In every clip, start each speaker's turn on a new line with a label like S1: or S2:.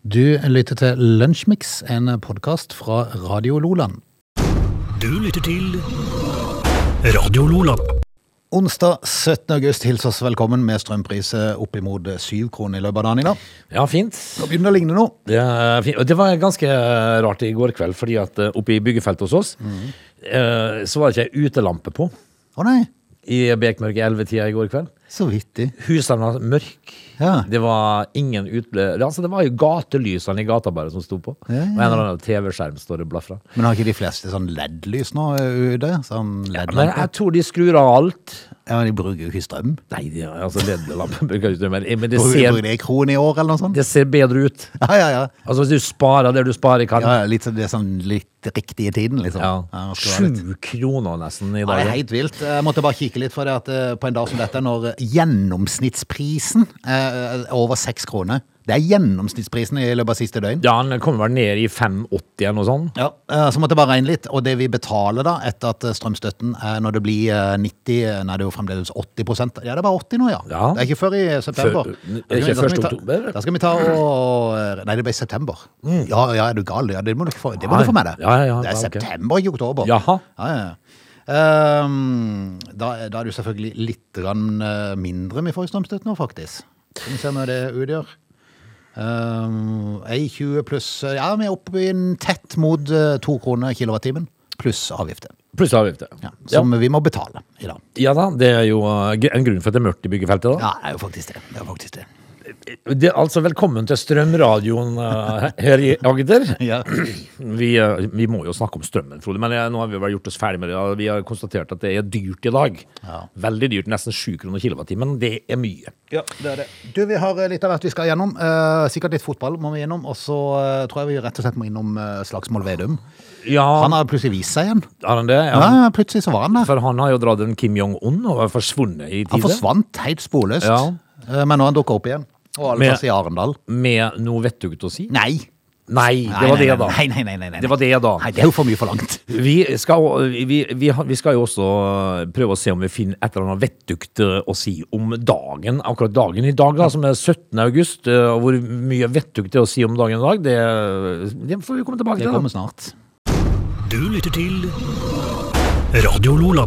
S1: Du lytter til Lunsjmix, en podkast fra Radio Loland.
S2: Du lytter til Radio Lola.
S1: Onsdag 17. august hilser oss velkommen med strømpriser oppimot syv kroner i løpet av dagen i dag.
S3: Ja, fint.
S1: Nå begynner det å ligne noe.
S3: Det, er fint. Og det var ganske eh, rart i går kveld, fordi at eh, oppe i byggefeltet hos oss,
S1: Mhm.
S3: eh, så var det ikke ei utelampe på
S1: Å nei,
S3: i bekmørke 11-tida i går kveld.
S1: så vittig.
S3: Husene var mørke.
S1: Ja.
S3: Det var ingen utle... Altså, det var jo gatelysene i gata bare som sto på.
S1: ja,
S3: Og en eller annen TV-skjerm står og blafrer.
S1: Men har ikke de fleste sånn LED-lys nå ø, ute? Sånn
S3: Men
S1: LED-lampe?
S3: jeg tror de skrur av alt.
S1: Ja, men de bruker jo ikke strøm.
S3: Nei, de, altså LED-lampen bruker ikke det, men, men det,
S1: Bruker
S3: ser,
S1: bruker de en krone i år, eller noe sånt?
S3: det ser bedre ut.
S1: Ja, ja, ja.
S3: Altså hvis du sparer der du sparer kan.
S1: ja ja, litt, sånn- det er sånn litt riktige tiden, liksom.
S3: Ja.
S1: det skal være litt-
S3: Sju kroner nesten i
S1: Ja,
S3: dag.
S1: det er helt vilt. Jeg måtte bare kikke litt for det at eh, på en dag som dette, når gjennomsnittsprisen eh, er over seks kroner Det er gjennomsnittsprisen i løpet av siste døgn.
S3: Ja, han kommer vel ned i 5,80 eller noe sånt.
S1: Ja, eh, Så måtte jeg bare regne litt. Og det vi betaler da etter at eh, strømstøtten er når det blir eh, 90 eh, Nei, det er jo fremdeles 80 Ja, det er bare 80 nå, ja.
S3: Ja.
S1: Det er ikke før i eh, september.
S3: Før- det er
S1: Da skal vi- da
S3: ikke
S1: skal
S3: først
S1: vi ta-
S3: oktober?
S1: Da skal vi ta og eh, Nei, det ble september. Ja, ja, er du gal? Ja, det må du få, det må
S3: Ja,
S1: du få med deg.
S3: ja, ja,
S1: det er
S3: ja, ok.
S1: september, ikke oktober.
S3: Jaha.
S1: Ja, ja, ja. Ehm, da, da er det jo selvfølgelig litt grann, eh, mindre vi får i strømstøtte nå, faktisk. Skal vi se hva det utgjør. Ehm, A20 pluss eh, Ja, vi er oppe i en tett mot eh, to kroner kilowattimen. Pluss avgifter.
S3: Pluss avgifter.
S1: Ja,
S3: Ja. Ja.
S1: som vi må betale i dag.
S3: da, det er jo eh, gr- en grunn for at det er mørkt i byggefeltet. da.
S1: Ja, det er jo faktisk det. det, er faktisk det.
S3: Det er altså Velkommen til strømradioen eh, her i Agder.
S1: Ja.
S3: Vi, eh, vi må jo snakke om strømmen, Frode, men eh, nå har vi vel gjort oss ferdig med det. og Vi har konstatert at det er dyrt i dag.
S1: Ja.
S3: Veldig dyrt. Nesten 7 kroner kilowattimen. Det er mye.
S1: Du, vi har eh, litt av hvert vi skal gjennom. Eh, sikkert litt fotball må vi gjennom. Og så eh, tror jeg vi rett og slett må innom eh, Slagsmål Vedum.
S3: Ja,
S1: Han har plutselig vist seg igjen.
S3: har han det? Ja.
S1: Ja, ja, plutselig så var han der.
S3: For han har jo dratt en Kim Jong-un og er forsvunnet i
S1: Han
S3: tide.
S1: forsvant helt sporløst,
S3: Ja.
S1: Eh, men nå har han dukka opp igjen. Og alle
S3: Med-
S1: plasser i Arendal.
S3: Med noe vettugt å si?
S1: Nei.
S3: Nei,
S1: Nei,
S3: det var
S1: nei,
S3: det,
S1: nei,
S3: da.
S1: Nei, nei, nei, nei, nei.
S3: Det var det, da.
S1: Nei, det er jo for mye forlangt.
S3: Vi skal, vi, vi, har- vi skal jo også eh, prøve å se om vi finner et eller annet vettugt eh, å si om dagen, akkurat dagen i dag, da, som er 17. august. eh, Og hvor mye vettugt det er å si om dagen i dag, det, eh, det får vi komme tilbake
S1: Det
S3: til.
S1: kommer
S3: Da.
S1: snart.
S2: Du lytter til Radio Lola.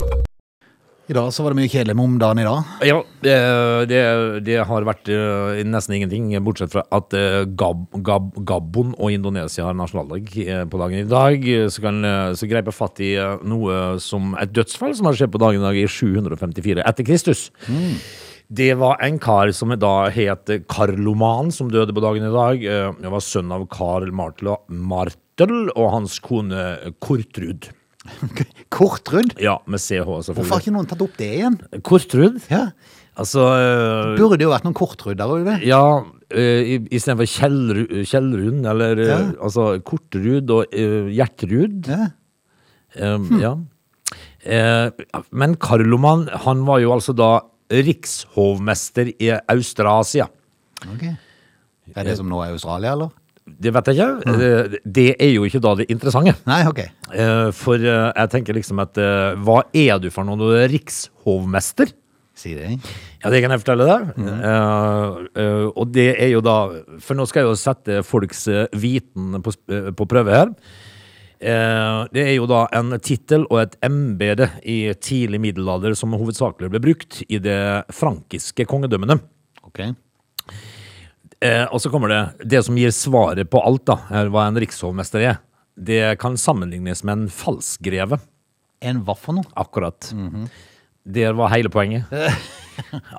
S1: I dag så var det mye kjedelig med om dagen i dag.
S3: Ja, eh, det, det har vært eh, nesten ingenting, bortsett fra at eh, Gab, Gab, Gabon og Indonesia har nasjonaldag eh, på dagen i dag. eh, Så, kan, eh, så greiper fatt i eh, noe som et dødsfall som har skjedd på dagen i dag i 754 etter Kristus.
S1: Mm.
S3: Det var en kar som da het Karloman, som døde på dagen i dag. Eh, Det var sønn av Karl Martel- Martel og hans kone Kortrud.
S1: Kortrudd?
S3: Ja, med CH,
S1: Hvorfor har
S3: selvfølgelig.
S1: ikke noen tatt opp det igjen?
S3: Kortrud?
S1: Ja.
S3: Altså eh,
S1: Burde det jo vært noen kortrudd der ute?
S3: Ja, eh, i- istedenfor Kjellru- Kjellrun, eller eh,
S1: Ja.
S3: altså Kortrud og eh, Gjertrud.
S1: Ja.
S3: eh, ja. Eh, men Karloman, han var jo altså da rikshovmester i Austrasia.
S1: Ok. Er det som nå er Australia, eller?
S3: Det vet jeg ikke. Eh, Det er jo ikke da det interessante.
S1: Nei, ok.
S3: Eh, For eh, jeg tenker liksom at eh, hva er du for noe når du er rikshovmester?
S1: Si det.
S3: Ja, det kan jeg fortelle deg. Eh, eh, og det er jo da For nå skal jeg jo sette folks eh, viten på, sp- eh, på prøve her. Eh, det er jo da en tittel og et embete i tidlig middelalder som hovedsakelig ble brukt i det frankiske kongedømmene.
S1: Ok.
S3: Eh, og så kommer det Det som gir svaret på alt, da, er hva en rikshovmester er, det kan sammenlignes med en falskgreve.
S1: En hva for noe?
S3: Akkurat. Der var hele poenget.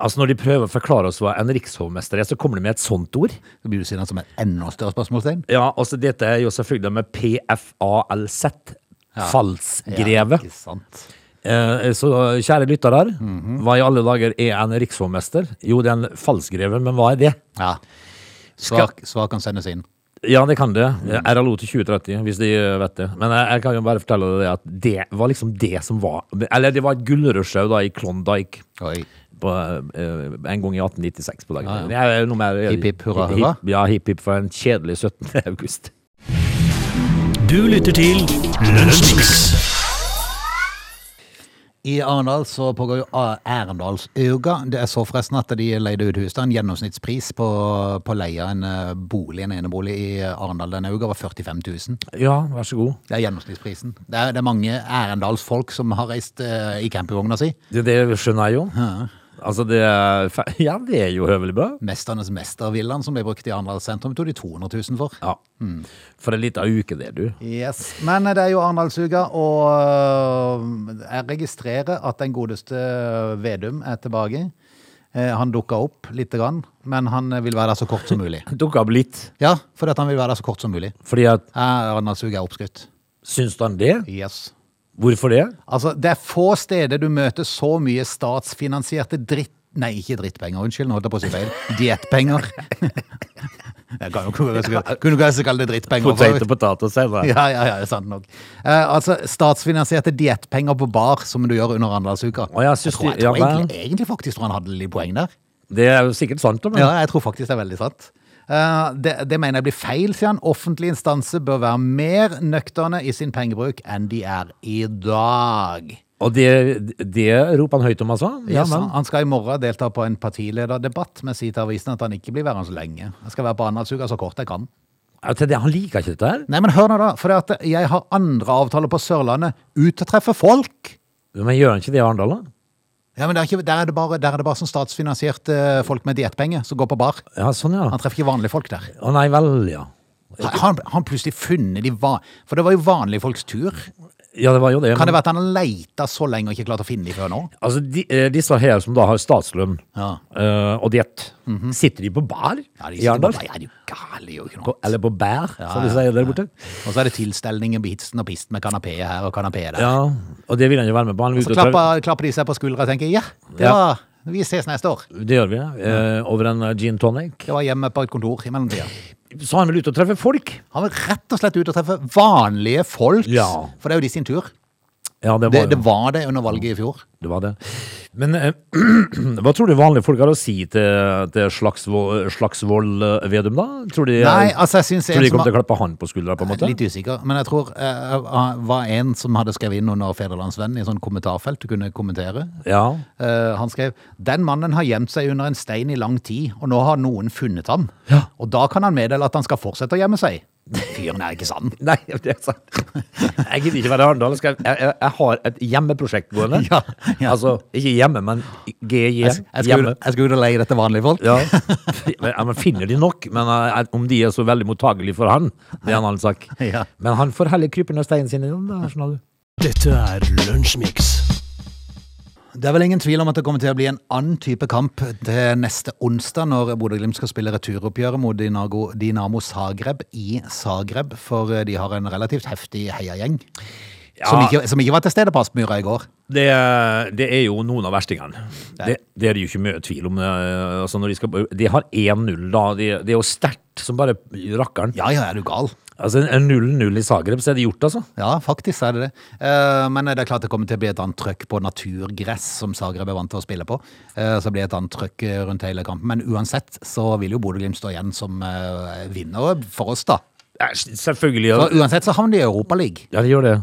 S3: altså Når de prøver å forklare oss hva en rikshovmester er, så kommer de med et sånt ord.
S1: Så blir du siden som et enda større spørsmålstegn.
S3: Ja, altså Dette er jo selvfølgelig med PFALZ. Falsgreve.
S1: ikke sant.
S3: Eh, så kjære lyttere, her, hva i alle dager er en rikshovmester? Jo, det er en falsgreve, men hva er det?
S1: Ja.
S3: Skal-
S1: Svar, svar kan sendes inn.
S3: Ja, det Eh, kan det. RLO til 2030, hvis de eh, vet det. Men jeg, jeg kan jo bare fortelle deg det at det var liksom det som var Eller det var et gullrush òg, da, i Klondyke.
S1: Oi.
S3: på, eh, en gang i 1896 på dagen. Det er jo noe mer,
S1: Hipp, hipp, hurra, hurra.
S3: Hipp, ja, hipp hipp for en kjedelig 17. august.
S2: Du lytter til Lunsjmix.
S1: I Arendal så pågår jo A- Arendalsuka. Det er så forresten at de leide ut huset. En gjennomsnittspris på, på leie av en eh, bolig, en enebolig i Arendal denne uka var 45 000.
S3: Ja, vær så god.
S1: Det er gjennomsnittsprisen. Det er, det er mange Arendalsfolk som har reist eh, i campingvogna si.
S3: Det, det skjønner jeg jo. Altså, det er fe- Ja, det er jo høvelig bra.
S1: Mesternes mestervillaen som ble brukt i Arendal sentrum, tok de 200 000 for.
S3: Ja. Mm. For en lita uke, det, du.
S1: Yes. Men eh, det er jo Arendalsuka, og øh, jeg registrerer at den godeste eh, Vedum er tilbake. Eh, Han dukka opp lite grann, men han eh, vil være der så kort som mulig.
S3: Dukka opp litt.
S1: Ja, fordi at han vil være der så kort som mulig.
S3: Fordi at
S1: Eh, Arendalsuka er oppskrytt.
S3: Syns han det?
S1: Yes.
S3: Hvorfor det?
S1: Altså, det er få steder du møter så mye statsfinansierte dritt... Nei, ikke drittpenger, unnskyld, nå holdt jeg på å si feil. Diettpenger. Jeg kan jo ikke kunne ikke kalle det drittpenger. for så vidt.
S3: Potet og potet, sier jeg.
S1: Ja, ja, ja, det er sant nok. Eh, altså, statsfinansierte diettpenger på bar, som du gjør under Arendalsuka.
S3: Å, ja,
S1: jeg
S3: syns
S1: tror, jeg
S3: du-
S1: tror
S3: ja, vel.
S1: egentlig, egentlig faktisk tror han hadde litt poeng der.
S3: Det er jo sikkert sant, da, men
S1: Ja, jeg tror faktisk det er veldig sant. Eh, det, det mener jeg blir feil, sier han. Offentlige instanser bør være mer nøkterne i sin pengebruk enn de er i dag.
S3: Og det, det roper han høyt om, altså? Ja,
S1: Yes,
S3: men.
S1: han skal i morgen delta på en partilederdebatt, men sier til avisen at han ikke blir værende så lenge. Jeg skal være på Arendalsuka så kort jeg kan.
S3: Ja, til det, han liker ikke dette her.
S1: Nei, men hør nå, da. For det at jeg har andre avtaler på Sørlandet. Ut og treffe folk!
S3: Men gjør han ikke det i Arendal, da?
S1: Ja, men det er ikke, der, er det bare, der er det bare sånn statsfinansierte eh, folk med diettpenger som går på bar.
S3: Ja, sånn, ja.
S1: Han treffer ikke vanlige folk der.
S3: Å nei vel, ja.
S1: Har han, han plutselig funnet de van... For det var jo vanlige folks tur.
S3: Ja, det var jo det.
S1: Kan det
S3: men-
S1: være at han har leita så lenge og ikke klart å finne de før nå?
S3: Altså, de, eh, disse her som da har statslønn
S1: Ja. Mhm.
S3: eh, og diett, sitter de på bar
S1: Ja, de
S3: i
S1: sitter
S3: Arendal?
S1: bare, ja, de er jo gale, gjør jo ikke
S3: På-
S1: noe.
S3: Eller på bær, som de
S1: ja,
S3: sier der borte?
S1: Og så er det tilstelninger, bitsen og pisten med kanapé her og kanapé der.
S3: Ja, og det vil han jo være med på. Han vil
S1: Så
S3: ut og prøve-
S1: klapper, klapper de seg på skuldra og tenker ja, det
S3: Ja.
S1: var, vi ses neste år.
S3: Det gjør vi, eh, over en eh, gin tonic.
S1: Det var hjemme på et kontor i mellomtida.
S3: Så han vil ut og treffe folk?
S1: Han vil rett og slett ut og treffe vanlige folk,
S3: Ja.
S1: for det er jo de sin tur.
S3: Ja, det var
S1: Det,
S3: jo-
S1: det var det under valget i fjor.
S3: Det var det. Men eh, hva tror du vanlige folk har å si til, til Slagsvold, Slagsvold eh, Vedum, da? Tror de,
S1: Nei, altså, jeg synes en
S3: tror de
S1: som
S3: kommer
S1: har-
S3: til å klappe han på skuldra, på en måte?
S1: Litt usikker, men jeg tror det var en som hadde skrevet inn under Federlandsvennen i sånn kommentarfelt du kunne kommentere.
S3: Ja.
S1: Eh, han skrev Den mannen har gjemt seg under en stein i lang tid, og nå har noen funnet ham. Og da kan han meddele at han skal fortsette å gjemme seg. Fyren er ikke sann.
S3: Nei, det er sant. Jeg gidder ikke være i Arendal. Jeg, skal- jeg, jeg- jeg har et hjemmeprosjekt gående.
S1: Ja, ja.
S3: Altså, ikke hjemme, men GJ.
S1: Jeg, jeg skulle
S3: Hjemme.
S1: jeg skulle ut og leie dette vanlige folk.
S3: Ja. Men- ja, men finner de nok? Men eh, om de er så veldig mottagelige for han, det er en annen sak.
S1: Ja.
S3: Men han får heller krype ned steinen sin i den, da, skjønner du.
S2: Dette er Lunsjmix.
S1: Det er vel ingen tvil om at det kommer til å bli en annen type kamp til neste onsdag, når Bodø-Glimt skal spille returoppgjøret mot Dinago- Dinamo Zagreb i Zagreb, for eh, de har en relativt heftig heiagjeng. Som,
S3: Ja.
S1: ikke, som ikke var til stede på Aspmyra i går.
S3: Det, det er jo noen av verstingene. Det, det er det jo ikke mye tvil om. eh, Altså når de, skal, de har 1-0, da. De, det er jo sterkt som bare rakkeren.
S1: Ja, ja, er du gal?
S3: Altså en- en 0-0 i Zagreb, så er det gjort, altså.
S1: Ja, faktisk er det det. Eh, Men det er klart det kommer til å bli et annet trøkk på naturgress, som Zagreb er vant til å spille på. Eh, Så blir det et annet trøkk eh, rundt hele kampen. Men uansett så vil jo Bodø-Glimt stå igjen som eh, vinner for oss, da.
S3: Ja, Selvfølgelig.
S1: Så
S3: Ja,
S1: uansett så havner de i Europaligaen.
S3: ja, det gjør det.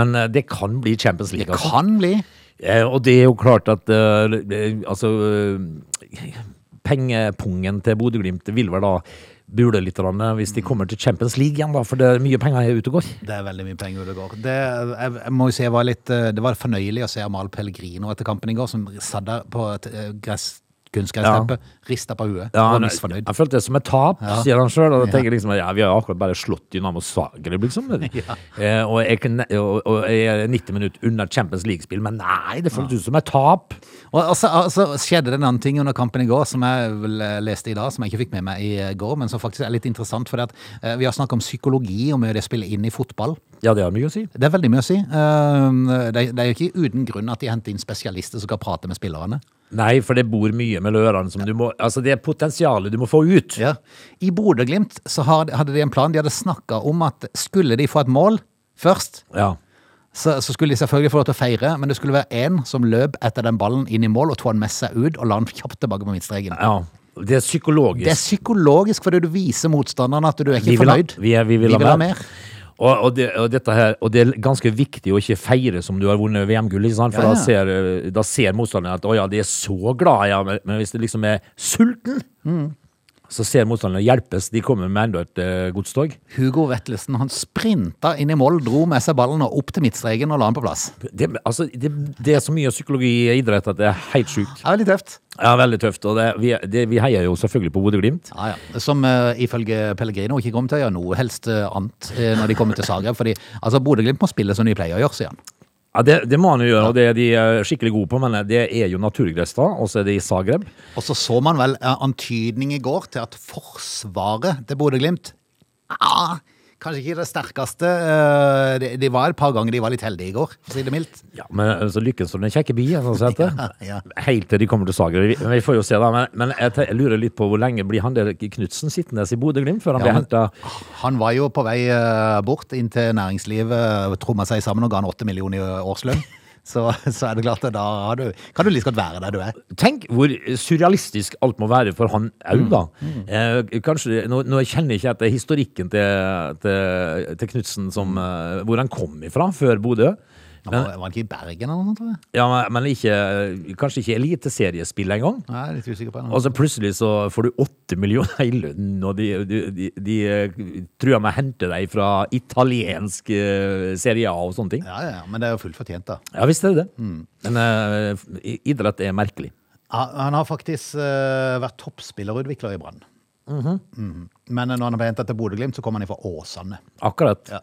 S3: Men eh, det kan bli Champions
S1: Mm. Det
S3: League, altså.
S1: kan bli.
S3: Eh, Og det er jo klart at eh, eh, Altså eh, Pengepungen til Bodø-Glimt vil vel da bule litt grann, eh, hvis de
S1: Mm.
S3: kommer til Champions League igjen, da. For det er mye penger er ute og går.
S1: Det er veldig mye penger det går. Det, jeg, jeg må jo si jeg var litt, eh, det var fornøyelig å se Amal Pellegrino etter kampen i går, som satt der på et eh, gress, kunstgressteppe, rista på huet og var
S3: han-
S1: misfornøyd.
S3: Han følte det som et tap,
S1: Ja.
S3: sier han sjøl. Og da tenker jeg liksom at ja, vi har akkurat bare slått Dynamo Zagreb, liksom. eh, og, jeg, kan- og, og jeg er 90 minutter under Champions League-spill, men nei, det føltes ut som et tap.
S1: Og altså, altså skjedde det en annen ting under kampen i går som jeg vel eh, leste i dag, som jeg ikke fikk med meg i eh, går, men som faktisk er litt interessant. For vi har snakket om psykologi og mye det spiller inn i fotball.
S3: Ja, det har mye å si.
S1: Det er veldig mye å si. Eh, Det, det er jo ikke uten grunn at de henter inn spesialister som kan prate med spillerne.
S3: Nei, for det bor mye mellom ørene som du må Altså, det er potensialet du må få ut.
S1: Ja. I Bodø-Glimt så har- hadde de en plan. De hadde snakka om at skulle de få et mål først,
S3: Ja.
S1: så, så skulle de selvfølgelig få lov til å feire, men det skulle være én som løp etter den ballen inn i mål og tog den med seg ut og la den kjapt tilbake på midtstreken.
S3: ja. Det er psykologisk.
S1: Det er psykologisk fordi du viser motstanderen at du er
S3: vi
S1: ikke
S3: vil ha,
S1: fornøyd.
S3: vi, er, vi, vil ha mer. Og, og, det, og, dette her, og det er ganske viktig å ikke feire som du har vunnet VM-gull, ikke sant? for
S1: Ja, ja.
S3: Da, ser, eh, da ser motstanderen at 'å ja, de er så glad', ja. Men, men hvis det liksom er sulten, så ser motstanderen hjelpes. De kommer med enda et eh, godstog.
S1: Hugo Vettelsen han sprinta inn i mål, dro med seg ballen og opp til midtstreken og la den på plass.
S3: Det, altså, det, det er så mye psykologi i idrett at det er helt sjukt.
S1: Det er veldig tøft.
S3: Ja, veldig tøft. Og det, vi, det, vi heier jo selvfølgelig på Bodø-Glimt.
S1: Ja, ja. Som eh, ifølge Pellegrino ikke kommer til å gjøre noe helst eh, annet eh, når de kommer til Zagreb. Fordi altså, Bodø-Glimt må spille som de pleier å gjøre, sier han.
S3: Ja, det, det må han jo gjøre, og det er de eh, skikkelig gode på, men eh, det er jo naturgress da, og så er det i Zagreb.
S1: Og så så man vel eh, antydning i går til at forsvaret til Bodø-Glimt ah, Kanskje ikke det sterkeste. eh, De, de var et par ganger de var litt heldige i går, for å si det mildt.
S3: Ja, men altså, lykken som den kjekke bi, sånn sett.
S1: Ja, ja.
S3: Helt til de kommer til Zagreb. Vi, vi får jo se da, men, men jeg, te- jeg lurer litt på hvor lenge blir han der Knudsen sittende i Bodø-Glimt før han
S1: Ja,
S3: blir
S1: men-
S3: hentet
S1: Han var jo på vei eh, bort inn til næringslivet, tromma seg sammen og ga han åtte millioner i årslønn. Så, så er det klart at da har du, kan du like godt være der du er.
S3: Tenk hvor surrealistisk alt må være for han
S1: Mm,
S3: òg, da. Eh, kanskje, nå, nå kjenner jeg ikke etter historikken til, til, til Knutsen,
S1: Mm.
S3: som, eh, hvor han kom ifra før Bodø.
S1: Han
S3: Men,
S1: var, var han ikke i Bergen eller noe sånt? tror jeg?
S3: ja, men- men ikke, kanskje ikke eliteseriespill engang.
S1: Nei, Jeg er litt usikker på det. nå.
S3: Og så Altså, plutselig så får du åtte millioner i lønn, og de, de, de, de eh, truer med å hente deg fra italiensk eh, Serie A og sånne ting.
S1: Ja, Mm. ja, ja, men det er jo fullt fortjent, da.
S3: Ja visst er det det. Men eh, i- idrett er merkelig.
S1: Ja, Han har faktisk eh, vært toppspillerutvikler i Brann. Mhm. Men eh, når han ble hentet til Bodø-Glimt, så kom han fra Åsane.
S3: Akkurat.
S1: Ja.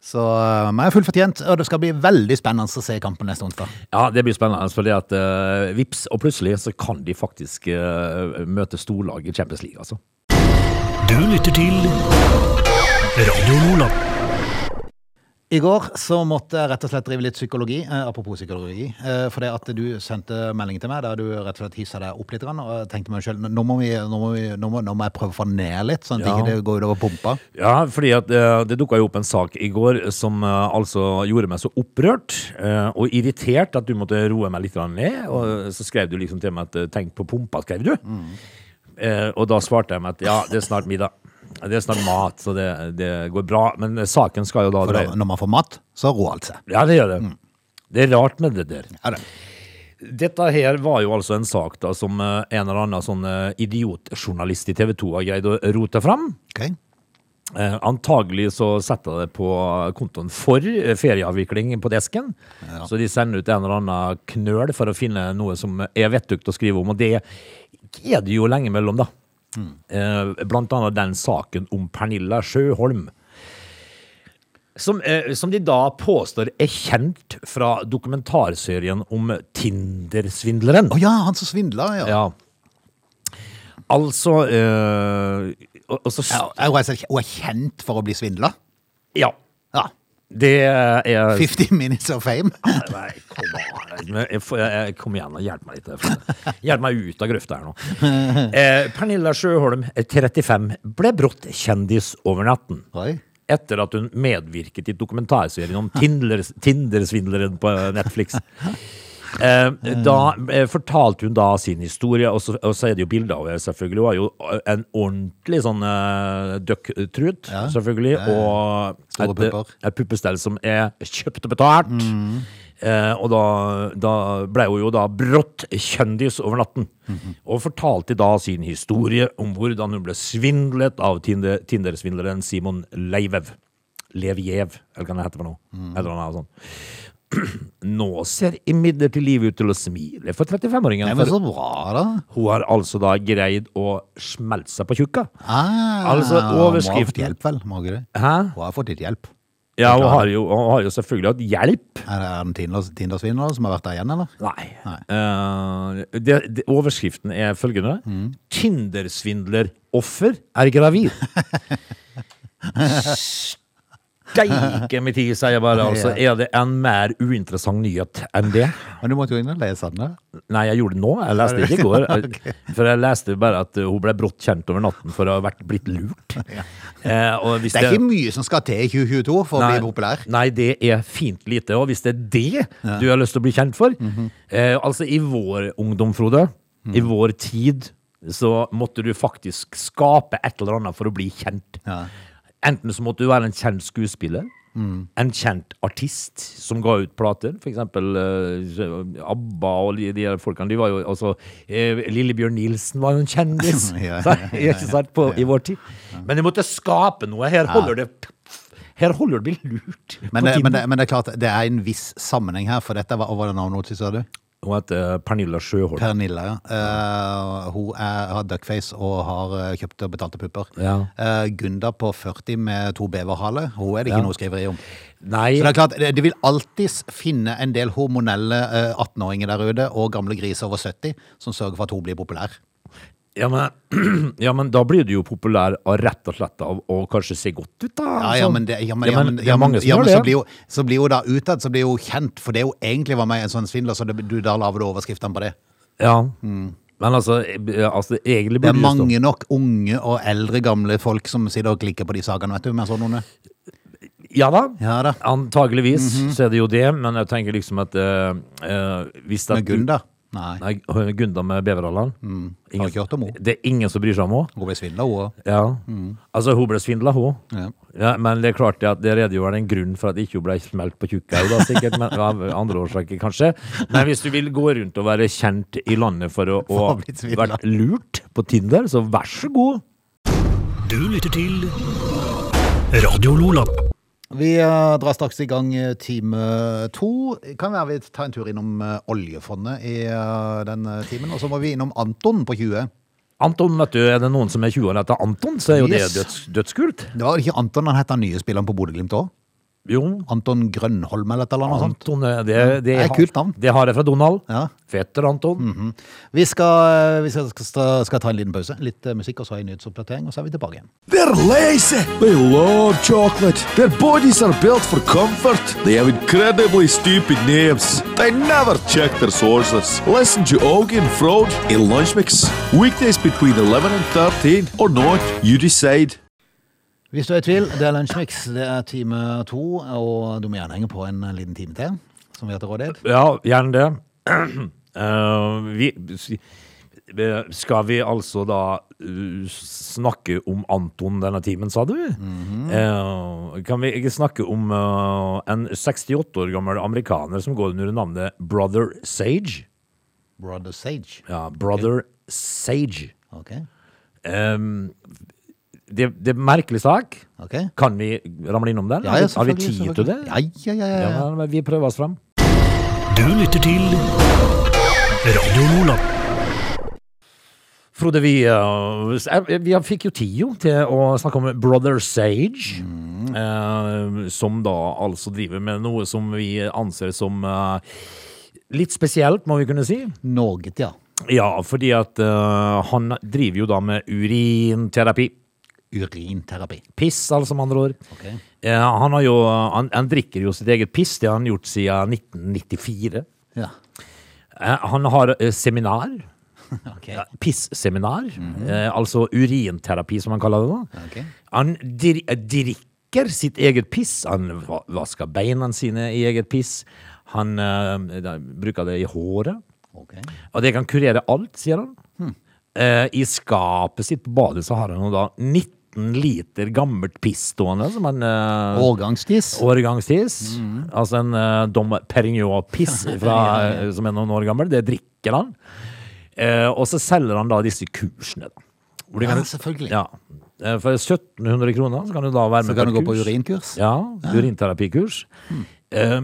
S1: Så eh, men er fullt fortjent, og det skal bli veldig spennende å se kampen neste onsdag.
S3: Ja, det blir spennende, fordi at eh, vips, og plutselig så kan de faktisk eh, møte storlag i Champions League, altså.
S2: Du lytter til Radio Nordland.
S1: I går så måtte jeg rett og slett drive litt psykologi, eh, apropos psykologi. Eh, for det at du sendte melding til meg der du rett og slett hissa deg opp litt, grann, og jeg tenkte meg sjøl nå, må vi- nå, må vi- nå, må- nå må jeg prøve å få den ned litt, sånn at
S3: Ja.
S1: ikke det går utover pumpa.
S3: Ja, fordi at eh, det dukka jo opp en sak i går som eh, altså gjorde meg så opprørt eh, og irritert at du måtte roe meg litt grann ned. Og så skrev du liksom til meg at eh, 'tenk på pumpa', skrev du. Eh, og da svarte jeg meg at ja, det er snart middag. Det er snart mat, så det, det går bra. Men eh, saken skal jo da
S1: For da,
S3: dreie
S1: når man får mat, så roer alt seg.
S3: Ja, det gjør det. Det er rart med det der.
S1: Ja, det.
S3: Dette her var jo altså en sak da som eh, en eller annen sånn eh, idiotjournalist i TV 2 har greid å rote fram.
S1: Ok.
S3: Eh, antagelig så setter jeg det på kontoen for eh, ferieavvikling på desken. Så de sender ut en eller annen knøl for å finne noe som er vettugt å skrive om, og det er det jo lenge mellom, da. Eh, blant annet den saken om Pernilla Sjøholm. Som, eh, som de da påstår er kjent fra dokumentarserien om Tinder-svindleren.
S1: Å ja, han som svindla, ja.
S3: Ja. Altså eh, og, og så,
S1: Ja, Hun er, hun er kjent for å bli svindla.
S3: Ja.
S1: Ja.
S3: Det er
S1: 50 minutes of fame.
S3: Nei, kom an. Men jeg får- jeg- jeg- Kom igjen, og hjelp meg litt. for- Hjelp meg ut av grøfta her nå. Eh, Pernilla Sjøholm, 35, ble brått kjendis over natten.
S1: Oi.
S3: Etter at hun medvirket i dokumentarserien om Tinder- Tinder-svindleren på Netflix. Eh, Da eh, fortalte hun da sin historie, og så, og så er det jo bilder av henne, selvfølgelig. Hun har jo eh, en ordentlig sånn uh, døkktrut, selvfølgelig, og
S1: Store
S3: et, eh,
S1: pupper. Mm.
S3: et puppestell som er kjøpt og betalt. Eh, og da, da ble hun jo da brått kjendis over natten.
S1: Mhm.
S3: Og fortalte da sin historie om hvordan hun ble svindlet av Tinder- Tinder-svindleren Simon Leivev. Levjev, eller hva det heter for noe.
S1: Mm.
S3: Eller noe sånt. Nå ser imidlertid livet ut til å smile for
S1: Nei,
S3: 35-åringen.
S1: men så
S3: For
S1: bra, da.
S3: hun har altså da greid å smelte seg på tjukka.
S1: Ah,
S3: Altså,
S1: Må ha fått
S3: overskriften-
S1: hjelp, vel? Må ikke det?
S3: Hæ?
S1: Hun har fått litt hjelp.
S3: Ja, hun har jo, hun har jo selvfølgelig hatt hjelp.
S1: Er det en Tinder- Tinder-svindler som har vært der igjen, eller?
S3: Nei. Eh, det, det, overskriften er følgende.
S1: Mm.
S3: Tinder-svindler-offer er gravid. Steike mi tid, sier jeg bare. Altså, er det en mer uinteressant nyhet enn det?
S1: Men du måtte jo inn og lese den. da.
S3: Nei, jeg gjorde det nå. Jeg leste det ikke i går. Jeg- For jeg leste bare at uh, hun ble brått kjent over natten for å ha vært blitt lurt. Eh, og hvis
S1: Det er ikke mye som skal til i 2022 for å
S3: Nei,
S1: bli populær.
S3: Nei, det er fint lite. Og hvis det er det du har lyst til å bli kjent for
S1: Mhm.
S3: eh, Altså, i vår ungdom, Frode, i vår tid, så måtte du faktisk skape et eller annet for å bli kjent.
S1: Ja.
S3: Enten så måtte du være en kjent skuespiller,
S1: Mm.
S3: en kjent artist som ga ut plater. For eksempel eh, ABBA og de, de her folkene. De var jo altså eh, Lillebjørn Nilsen var jo en kjendis
S1: Ja, ja,
S3: sant?
S1: ja, ja,
S3: Ikke sant, på, i vår tid. Men de måtte skape noe. Her holder det her holder det bli lurt.
S1: Men,
S3: på
S1: det,
S3: tiden.
S1: men, det, men det er klart, det er en viss sammenheng her, for dette var, hva var det navnet hennes, sa du?
S3: Hun heter Pernilla Sjøholm.
S1: Pernilla, ja. Eh, hun er, har duckface og har eh, kjøpt og betalte pupper.
S3: Ja.
S1: Eh, Gunda på 40 med to beverhaler, hun er det ikke
S3: Ja.
S1: noe skriveri om.
S3: Nei,
S1: Så det er klart, det, det vil alltid finne en del hormonelle eh, 18-åringer der ute, og gamle griser over 70, som sørger for at hun blir populær.
S3: ja men, ja, men da blir du jo populær av rett og slett av å kanskje se godt ut, da.
S1: Ja, ja,
S3: sånn.
S1: men det, ja, men,
S3: Ja,
S1: ja,
S3: men
S1: men,
S3: det er
S1: ja, men,
S3: mange som
S1: ja,
S3: gjør
S1: men
S3: det,
S1: så
S3: ja.
S1: blir jo, så blir jo da utad, så blir jo kjent, for det er jo egentlig var meg en sånn svindler, så det, du, da laver du overskriftene på det.
S3: Ja. Men altså, eh, altså egentlig
S1: Mm. Det
S3: burde
S1: er
S3: du stå-
S1: mange nok unge og eldre gamle folk som sitter og klikker på de sakene, vet du, med sånne onde.
S3: Ja da.
S1: Ja Mhm. da.
S3: Antageligvis så er det jo det, men jeg tenker liksom at eh, eh, hvis det
S1: Med Gunda. Nei,
S3: Nei, hun- Gunda med Beverhalland. Ingen-
S1: Har ikke hørt om henne.
S3: Det er ingen som bryr seg om henne.
S1: hun ble svindla, hun òg.
S3: Ja. Altså, hun ble svindla, hun.
S1: Mm. Ja.
S3: Ja, men det er klart det at det redegjør en grunn for at ikke hun ble smelt på tjukka, da, sikkert, men av andre årsaker kanskje. Men hvis du vil gå rundt og være kjent i landet for å
S1: For å
S3: å
S1: bli svindlet.
S3: vært lurt på Tinder, så vær så god.
S2: Du lytter til Radio Lola.
S1: Vi eh, drar straks i gang eh, time to. Kan være vi tar en tur innom eh, oljefondet i eh, den eh, timen. Og så må vi innom Anton på 20.
S3: Anton, vet du, er det noen som er 20 år etter Anton, så er jo
S1: Yes.
S3: det døds, dødskult.
S1: Det var ikke Anton han het, den nye spilleren på Bodø-Glimt òg?
S3: Jo,
S1: Anton Grønholm eller et eller annet sånt?
S3: Anton, eh, det, det,
S1: er et
S3: har-
S1: kult navn.
S3: Det har jeg fra Donald.
S1: Ja. Mhm.
S3: Fetter Anton.
S1: Vi, skal, eh, vi skal, skal, skal ta en liten pause. Litt eh, musikk, og så en nyhetsoppdatering, og så er vi tilbake igjen.
S4: They're lazy. They love chocolate. Their bodies are built for comfort. They have incredibly stupid names. They never check their sources. Listen to Augie and Frode in Lunch Mix. Weekdays between 11 and 13 or not, you decide.
S1: Hvis du er i tvil, det er Lunsjmix, det er time to, og du må gjerne henge på en eh, liten time til, som vi har til rådighet.
S3: Ja, gjerne det. Eh, vi, eh, skal vi altså da eh, snakke om Anton denne timen, sa du?
S1: Mhm.
S3: Eh, kan vi ikke snakke om eh, en 68 år gammel amerikaner som går under navnet Brother Sage?
S1: Brother Sage.
S3: Ja, Brother Sage.
S1: Ok,
S3: Eh, det, det er en merkelig sak.
S1: ok.
S3: Kan vi ramle innom den?
S1: Ja,
S3: Har
S1: ja,
S3: vi- har vi
S1: selvfølgelig,
S3: tid til
S1: selvfølgelig.
S3: det?
S1: Ja, ja, ja, ja, ja.
S3: Ja, men vi prøver oss fram.
S2: Du lytter til Radio Lola.
S3: Frode, vi, uh, s- eh, vi fikk jo tid jo til å snakke om Brother Sage, eh, som da altså driver med noe som vi anser som eh, litt spesielt, må vi kunne si.
S1: Norge, ja.
S3: Ja, fordi at eh, han driver jo da med urinterapi.
S1: Urinterapi.
S3: Piss, altså med andre ord.
S1: Ok.
S3: Eh, han, har jo, han, han drikker jo sitt eget piss, det har han gjort siden 1994.
S1: Ja,
S3: Eh, han har eh, seminar.
S1: ok.
S3: Ja, Pisseminar, eh, altså urinterapi som han kaller det. da.
S1: Ok.
S3: Han dir eh, drikker sitt eget piss, han va vasker beina sine i eget piss, han eh, da, bruker det i håret,
S1: Ok.
S3: og det kan kurere alt, sier han. Eh, I skapet sitt på badet så har han jo da 19 liter gammelt piss stående, som han eh,
S1: Årgangstis.
S3: Årgangstis, altså en eh, Dom Perignon-piss fra,
S1: Mm. Ja, ja,
S3: eh, som er noen år gammel, det drikker han. Eh, og så selger han da disse kursene. Da. Hvor du
S1: Ja, selvfølgelig.
S3: Ja. Eh, For 1700 kroner så kan du da være
S1: Så
S3: med
S1: kan du gå
S3: et
S1: på Hmm.
S3: kurs.
S1: urinkurs.
S3: Ja, urinterapikurs. Eh,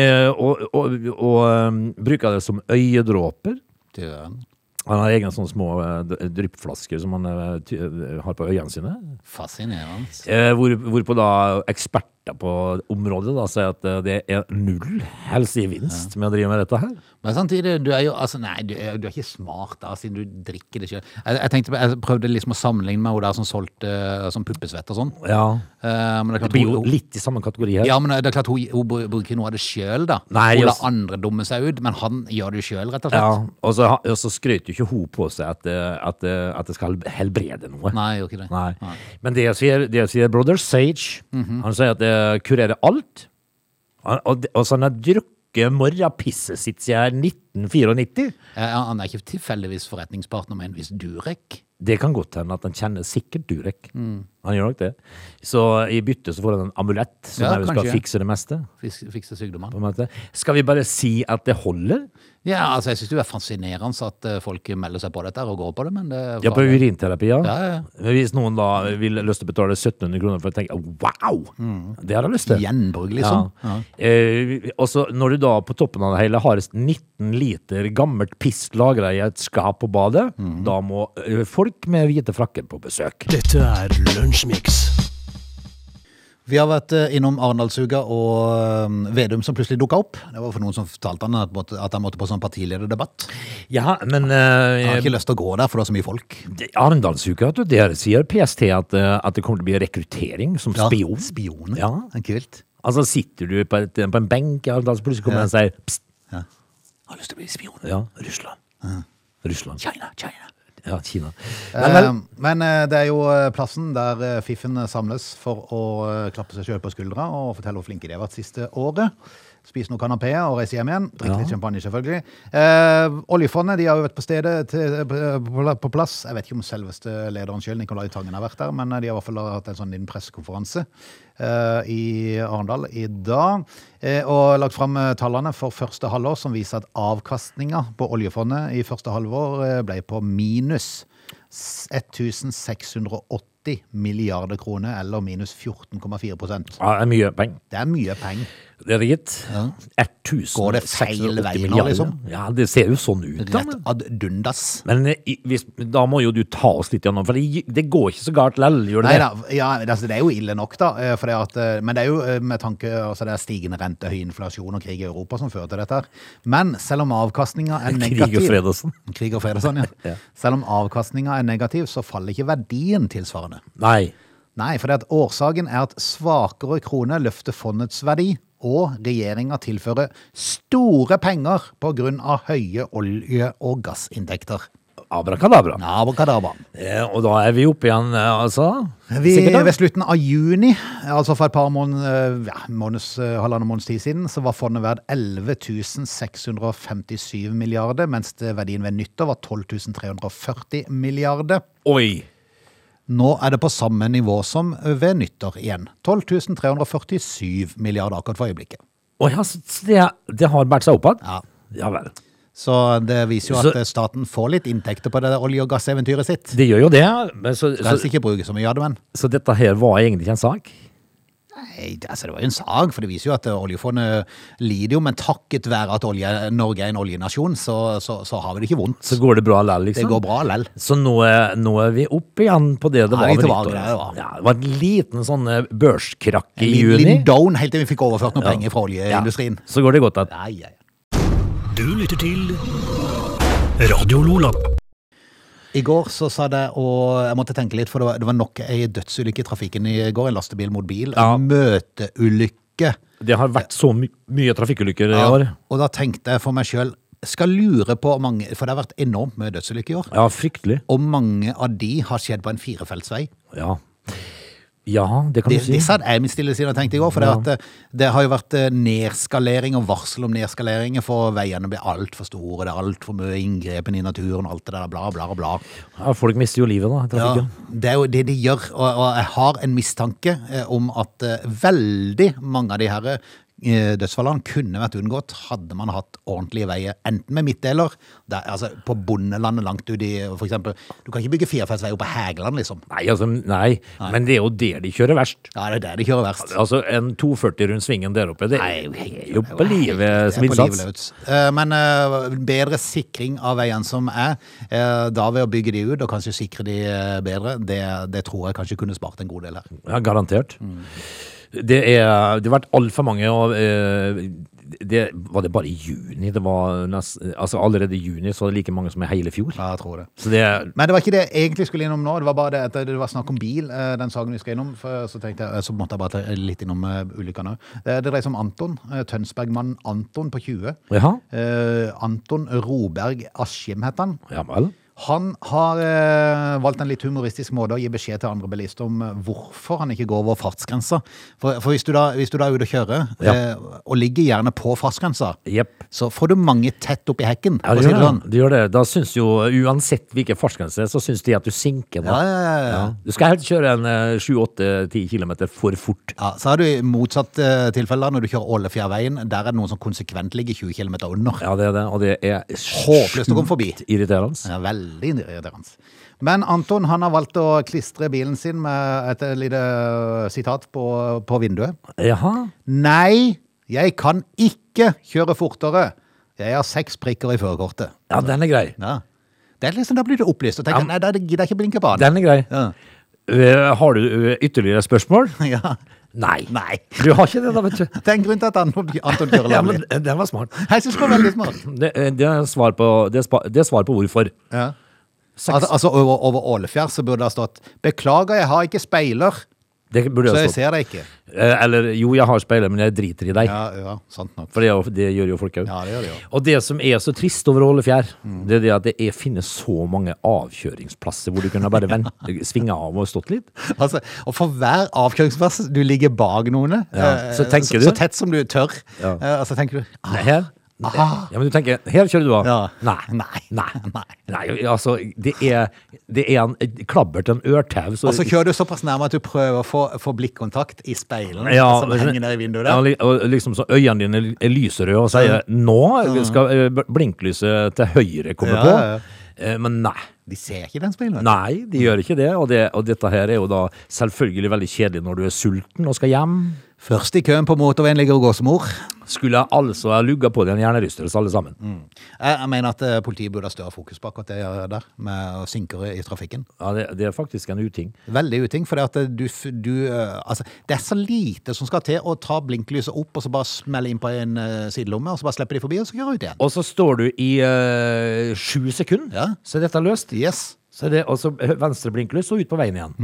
S3: eh, og og, og eh, bruker det som øyedråper.
S1: Døren.
S3: Han har egne sånne små eh, d- dryppflasker som han eh, ty- eh, har på øynene sine.
S1: Fascinerende.
S3: Eh, hvor, hvorpå da eksperter på området da sier at eh, det er null helsegevinst med å drive med dette her.
S1: Men samtidig, du er jo, altså nei, du er, du er ikke smart da, siden du drikker det selv. Jeg, jeg tenkte, jeg prøvde liksom å sammenligne med hun der som solgte eh, sånn puppesvett og sånn.
S3: Ja.
S1: Eh, men det er
S3: Det
S1: klart,
S3: blir jo
S1: hun- hun-
S3: litt i samme kategori her.
S1: Ja, men det er klart hun, hun br- bruker noe av det sjøl, da.
S3: Nei,
S1: hun lar
S3: just-
S1: andre dumme seg ut, men han gjør det jo sjøl, rett og slett.
S3: Ja, og så, ha- og så skrøt jo ikke hun på seg at, eh, at, eh, at det skal helbrede noe.
S1: Nei, Mhm. gjør ikke det.
S3: Nei. Men det sier, det sier brother Sage. Han sier at det kurerer alt. Han, og, det- og så han har drukket morrapisset sitt siden 1994.
S1: Eh, Han er ikke tilfeldigvis forretningspartner med en viss Durek.
S3: Det kan godt hende at han kjenner sikkert Durek.
S1: Mm.
S3: Han gjør nok det. Så i bytte så får han en amulett som
S1: Ja,
S3: er jo skal
S1: kanskje.
S3: fikse det meste.
S1: Fiks- Fikse
S3: På
S1: sykdommene.
S3: en måte. Skal vi bare si at det holder?
S1: Ja, altså, jeg syns det er fascinerende at eh, folk melder seg på dette her og går på det, men det
S3: Ja, på urinterapi, ja.
S1: Ja, ja, ja.
S3: Men Hvis noen da vil lyst til å betale 1700 kroner for å tenke wow, det har jeg lyst til.
S1: Gjenbruk, Mm. liksom.
S3: Ja. Eh, og så når du da på toppen av det hele har 19 liter gammelt piss lagra i et skap på badet,
S1: Mm.
S3: da må eh, folk med hvite frakker på besøk.
S2: Dette er Lunsjmix.
S1: Vi har vært eh, innom Arendalsuka og eh, Vedum som plutselig dukka opp. Det var for noen som fortalte han at, måtte- at han måtte på sånn partilederdebatt.
S3: Ja, men
S1: Han
S3: eh,
S1: har ikke lyst til å gå der, for det er så mye folk.
S3: det- Arendalsuka, vet du, der sier PST at, eh, at det kommer til å bli rekruttering som
S1: Ja,
S3: spion.
S1: Spion.
S3: Ja.
S1: Det er Kult.
S3: Altså sitter du på, et, på en benk i Arendal, så plutselig kommer
S1: Ja.
S3: det en og sier pst,
S1: Ja.
S3: jeg har lyst til å bli spion. Ja, Russland. Russland. Kina, Kina. Ja, Kina. Men,
S1: Eh,
S3: vel,
S1: Men eh, det er jo eh, plassen der eh, fiffen eh, samles for å eh, klappe seg sjøl på skuldra og fortelle hvor flinke de har vært siste året. Spise noen kanapeer og reise hjem igjen. Drikke
S3: Ja.
S1: litt champagne, selvfølgelig. Eh, oljefondet de har jo vært på stedet til, eh, på, på plass. Jeg vet ikke om selveste lederen sjøl, Nicolai Tangen, har vært der, men eh, de har i hvert fall hatt en sånn liten pressekonferanse eh, i Arendal i dag. eh, og lagt fram eh, tallene for første halvår, som viser at avkastninga på oljefondet i første halvår eh, ble på minus. 1680 milliarder kroner, eller minus 14,4 prosent.
S3: ja, det er mye penger.
S1: Det er mye penger.
S3: Det er det gitt. 1000
S1: Går det feil vei nå,
S3: milliarder.
S1: liksom?
S3: Ja, det ser jo sånn ut. Da,
S1: Rett
S3: men
S1: ad dundas.
S3: men eh, i- hvis, da må jo du ta oss litt gjennom, for det, det går ikke så galt lell, gjør det
S1: Nei
S3: det?
S1: da, ja, altså, det er jo ille nok, da. eh, For det at, eh, men det er jo eh, med tanke altså, det er stigende rente, høy inflasjon og krig i Europa som fører til dette. her. Men selv om avkastninga er negativ
S3: Krig og Fredåsen.
S1: Krig og fred og sånn, ja.
S3: Ja.
S1: Selv om avkastninga er negativ, så faller ikke verdien tilsvarende.
S3: Nei.
S1: Nei, for det at årsaken er at svakere krone løfter fondets verdi, og regjeringa tilfører store penger pga. høye olje- og gassinntekter.
S3: Abrakadabra.
S1: Abrakadabra.
S3: Eh, og da er vi oppe igjen, eh, altså.
S1: Vi,
S3: Sikkert da.
S1: ved slutten av juni, altså for et par måneder, ja, måneds, eh, halvannen måneds tid siden, så var fondet verdt 11 657 milliarder, mens det verdien ved nyttår var 12 340 milliarder.
S3: Oi.
S1: Nå er det på samme nivå som ved nyttår igjen. 12 347 milliarder akkurat for øyeblikket.
S3: Oi, altså, det, det har båret seg opp igjen?
S1: Ja.
S3: Ja vel.
S1: Så det viser jo
S3: Så-
S1: at eh, staten får litt inntekter på det der olje- og gasseventyret sitt.
S3: Det gjør jo det. Men så, så,
S1: Helst ikke bruke så mye av det, men
S3: så dette her var egentlig ikke en sak?
S1: Nei, det- altså, det var jo en sag, for det viser jo at eh, oljefondet lider jo, men takket være at olje, Norge er en oljenasjon, så, så, så har vi det ikke vondt.
S3: Så går det bra lell,
S1: Det
S3: liksom?
S1: går bra lell.
S3: Så nå er, nå er vi oppe igjen på det det
S1: Ja,
S3: var
S1: vi
S3: ved
S1: tilbake
S3: nyttår.
S1: der det var.
S3: Ja, det var en liten sånn eh, børskrakk i
S1: Lin-
S3: juni.
S1: Lin down helt til vi fikk overført noen
S3: Ja.
S1: penger fra oljeindustrien.
S3: Ja, så går det godt at
S1: Nei, ja, ja.
S2: Du lytter til Radio Lola.
S1: I går så sa det, og jeg måtte tenke litt, for det var, det var nok ei dødsulykke i trafikken i går. En lastebil mot bil.
S3: Ja.
S1: En møteulykke.
S3: det har vært så my mye trafikkulykker i år.
S1: Ja, Og da tenkte jeg for meg sjøl Skal lure på mange For det har vært enormt mye dødsulykker i år.
S3: Ja, fryktelig.
S1: Og mange av de har skjedd på en firefeltsvei.
S3: Ja, ja det kan
S1: De,
S3: du si.
S1: de satt jeg i min stille side og tenkte i går, for det, at, eh, det har jo vært eh, nedskalering og varsel om nedskaleringer, for veiene blir altfor store, det er altfor mye inngrepen i naturen og alt det der, bla, bla, bla.
S3: Ja, folk mister jo livet da, i
S1: Ja,
S3: trafikken.
S1: det er jo det de gjør, og, og jeg har en mistanke eh, om at eh, veldig mange av de her eh, dødsfallene kunne vært unngått hadde man hatt ordentlige veier, enten med midtdeler, der, altså på bondelandet langt ut i, for eksempel, du kan ikke bygge firefeltsvei oppe på Hægeland, liksom.
S3: Nei, altså, nei. men det er jo der de kjører verst.
S1: Ja, det er der de kjører verst.
S3: Altså, en 240 rundt svingen der oppe, det
S1: Nei,
S3: er jo på livet som
S1: Det er på
S3: innsats.
S1: livet løs. Eh, Men eh, bedre sikring av veiene som er, eh, da ved å bygge de ut og kanskje sikre de eh, bedre, det, det tror jeg kanskje kunne spart en god del her.
S3: Ja, garantert. Det, er, det har vært altfor mange og, eh, det, Var det bare i juni? Det var nest, altså allerede i juni så var det like mange som i hele fjor.
S1: Ja, jeg tror det.
S3: Så det er
S1: Men det var ikke det jeg egentlig skulle innom nå. Det var bare det at det var snakk om bil, eh, den saken vi skal innom. For så, tenkte jeg, eh, så måtte jeg bare ta litt innom eh, ulykkene òg. Det dreier seg om Anton. eh, Tønsbergmannen Anton på 20.
S3: Jaha?
S1: Eh, Anton Roberg Askim heter han.
S3: Ja vel?
S1: Han har eh, valgt en litt humoristisk måte å gi beskjed til andre bilister om eh, hvorfor han ikke går over fartsgrensa. For, for hvis, du da, hvis du da er ute og kjører,
S3: Ja.
S1: eh, og ligger gjerne på fartsgrensa,
S3: Jepp.
S1: så får du mange tett oppi hekken.
S3: Ja,
S1: for å
S3: det
S1: si
S3: gjør
S1: det
S3: det.
S1: sånn.
S3: det gjør det. Da syns jo, uansett hvilken fartsgrense, så syns de at du sinker. Da.
S1: Ja, ja, ja, ja.
S3: Ja. Du skal helst kjøre en eh, 7-8-10 km for fort.
S1: Ja, så har du i motsatt eh, tilfelle da, når du kjører Ålefjærveien. Der er det noen som konsekvent ligger 20 km under.
S3: Ja, det er det, og det er
S1: Håpløst å komme forbi.
S3: sjukt irriterende.
S1: Ja, veldig irriterende. Men Anton han har valgt å klistre bilen sin med et eh, lite sitat på, på vinduet.
S3: Jaha.
S1: Nei, jeg kan ikke kjøre fortere. Jeg har seks prikker i førerkortet.
S3: Ja, den er grei.
S1: Ja. Det er liksom, da blir du opplyst og tenker
S3: Ja.
S1: nei, da gidder jeg ikke blinke på han.
S3: Den er grei.
S1: Ja.
S3: Eh, Har du eh, ytterligere spørsmål?
S1: Ja.
S3: Nei.
S1: Nei.
S3: Du har ikke det, da, vet du.
S1: Det er en grunn til at Anton Anton kjører
S3: Ja,
S1: lovlig.
S3: men eh, Den var smart.
S1: Jeg syns det var veldig smart.
S3: Det, eh, det, er svar på, det, er spa, det er svar på hvorfor.
S1: Ja.
S3: Seks.
S1: Altså, altså over, over Ålefjær så burde det ha stått 'Beklager, jeg har ikke speiler,
S3: det burde
S1: så
S3: jeg
S1: jeg
S3: stått.
S1: ser deg ikke'.
S3: Eh, Eller jo, jeg har speilet, men jeg driter i deg.
S1: Ja, ja, sant nok.
S3: For det, er jo- det gjør jo folk òg.
S1: Ja, det gjør det jo. Mm.
S3: Og det som er så trist over Ålefjær, det er det at det er, finnes så mange avkjøringsplasser hvor du kunne bare vent, svinge av og stått litt.
S1: Altså, og for hver avkjøringsplass du ligger bak noen,
S3: Ja,
S1: eh,
S3: så tenker
S1: så,
S3: du-
S1: så tett som du tør,
S3: Ja.
S1: eh, så tenker du ah,
S3: Her?
S1: Aha.
S3: Ja, men du tenker, her kjører du av?
S1: Ja.
S3: Nei.
S1: Nei.
S3: Nei.
S1: Nei.
S3: Nei, altså, det er, det er en klabbert, en ørtau. så-
S1: Og så kjører du såpass nærme at du prøver å få, få blikkontakt i speilene
S3: Ja, altså,
S1: som
S3: men-
S1: henger der i vinduet
S3: Ja,
S1: der. Mm.
S3: li- og liksom så øynene dine er lyserøde og sier nå skal eh, bl- blinklyset til høyre komme
S1: Ja,
S3: på.
S1: ja, ja.
S3: Eh, Men nei.
S1: De ser ikke den speilen.
S3: Nei, de gjør ikke det. Og, det. og dette her er jo da selvfølgelig veldig kjedelig når du er sulten og skal hjem.
S1: Først i køen på motorveien ligger gåsemor.
S3: Skulle jeg altså ha lugga på det en hjernerystelse, alle sammen.
S1: Mm. Jeg, jeg mener at eh, politiet burde ha større fokus på akkurat det der, med synkere i trafikken.
S3: Ja, det, det er faktisk en uting.
S1: Veldig uting, for du, f- du, eh, altså, det er så lite som skal til å ta blinklyset opp og så bare smelle inn på en eh, sidelomme, og så bare slipper de forbi og så kjører ut igjen.
S3: Og så står du i eh, sju sekunder,
S1: Ja.
S3: så er dette løst.
S1: Yes.
S3: Så er det også venstre blinklys og ut på veien igjen.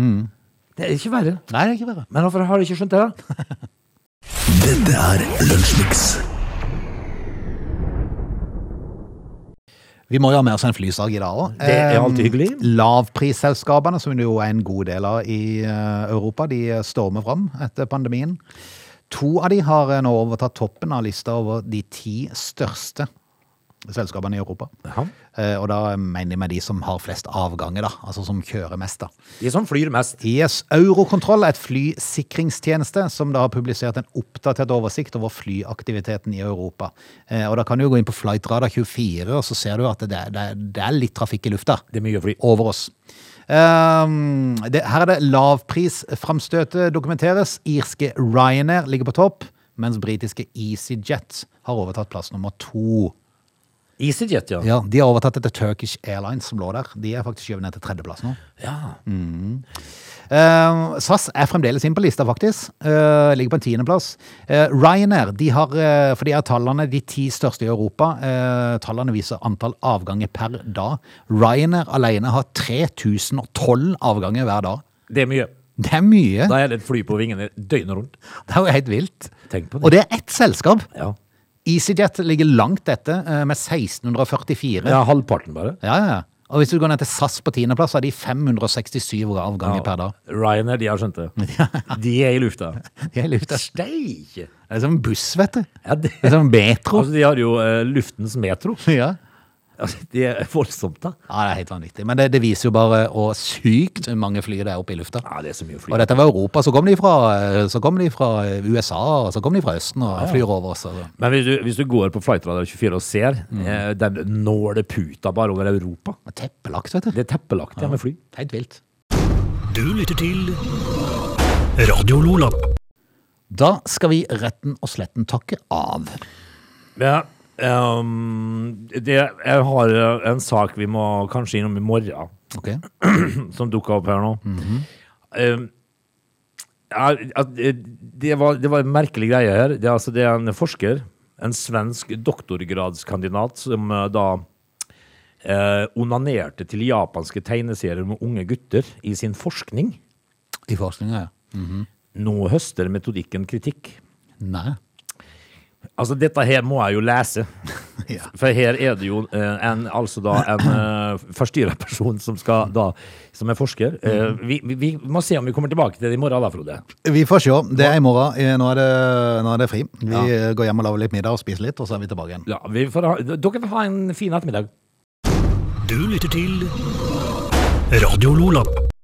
S3: Det er ikke verre.
S1: Nei, det er ikke verre.
S3: Men hvorfor har du ikke skjønt det? da?
S2: Dette er Lunsjmix.
S1: Vi må jo ha med oss en flysag i dag òg.
S3: Det er alltid hyggelig.
S1: Lavprisselskapene, som det jo er en god del av i eh, Europa, de eh, stormer fram etter pandemien. To av de har eh, nå overtatt toppen av lista over de ti største selskapene i Europa.
S3: Jaha.
S1: Eh, Og da mener jeg med de som har flest avganger, da. Altså som kjører mest, da.
S3: De som flyr mest.
S1: Yes, Eurokontroll er et flysikringstjeneste som da har publisert en oppdatert oversikt over flyaktiviteten i Europa. Eh, og Da kan du jo gå inn på Flightradar 24, og så ser du at det, det, det er litt trafikk i lufta
S3: Det er mye fly.
S1: over oss. Ehm, det, her er det lavprisframstøtet dokumenteres. Irske Ryanair ligger på topp, mens britiske EasyJet har overtatt plass nummer to.
S3: EasyJet, ja.
S1: Ja, De har overtatt etter Turkish Airlines, som lå der. De er faktisk skjøvet ned til tredjeplass nå.
S3: ja.
S1: Eh, SAS er fremdeles inn på lista, faktisk. Eh, ligger på en tiendeplass. Eh, Ryanair, de har, eh, for de er tallene de ti største i Europa. Eh, tallene viser antall avganger per dag. Ryanair alene har 3012 avganger hver dag.
S3: Det er mye.
S1: Det er mye.
S3: Da er det et fly på vingene døgnet rundt.
S1: Det er jo helt vilt.
S3: Tenk på det.
S1: Og det er ett selskap.
S3: Ja.
S1: EasyJet ligger langt etter, eh, med 1644.
S3: ja, halvparten bare.
S1: ja, ja. ja. Og hvis du går ned til SAS på tiendeplass, så har de 567 avganger per dag.
S3: Ryanair, de har skjønt det. De er i lufta.
S1: Det er helt vilt. Det
S3: Steike!
S1: er som en buss, vet du.
S3: Ja, det,
S1: Det er som en metro.
S3: altså, de har jo eh, luftens metro.
S1: Ja.
S3: Altså, det er voldsomt, da.
S1: ja, det er helt vanvittig. Men det, det viser jo bare hvor sykt mange fly det er oppe i lufta.
S3: Ja, det er så mye
S1: Og
S3: fly.
S1: dette var Europa, så kom de fra, så kom de fra USA, og så kom de fra Østen og flyr over oss. altså.
S3: Men hvis du, hvis du går på Flightradar 24 og ser, eh, den nåleputa bare over Europa.
S1: Teppelagt, vet du.
S3: Det er teppelagt ja. med fly.
S1: Helt vilt.
S2: Du lytter til Radio Lola.
S1: Da skal vi retten og sletten takke av.
S3: Ja, ehm, det, jeg har eh, en sak vi må kanskje innom i morgen,
S1: Ok?
S3: som dukka opp her nå. Ehm, ja, at, eh, det, var, det var en merkelig greie her. Det, er altså, det er en forsker, en svensk doktorgradskandidat, som eh, da eh, onanerte til japanske tegneserier med unge gutter i sin forskning.
S1: I forskninga, ja.
S3: Nå høster metodikken kritikk.
S1: Nei.
S3: Altså, dette her må jeg jo lese.
S1: Ja.
S3: For her er det jo eh, en, altså da en eh, forstyrreperson som skal da, som er forsker. Eh, vi, vi, vi må se om vi kommer tilbake til det i morgen da, Frode.
S1: Vi får se. Det er i morgen. Eh, Nå er det, nå er det fri. Vi eh, går hjem og lager litt middag og spiser litt, og så er vi tilbake igjen.
S3: Ja, vi får ha, dere får ha en fin ettermiddag.
S2: Du lytter til Radio Lola.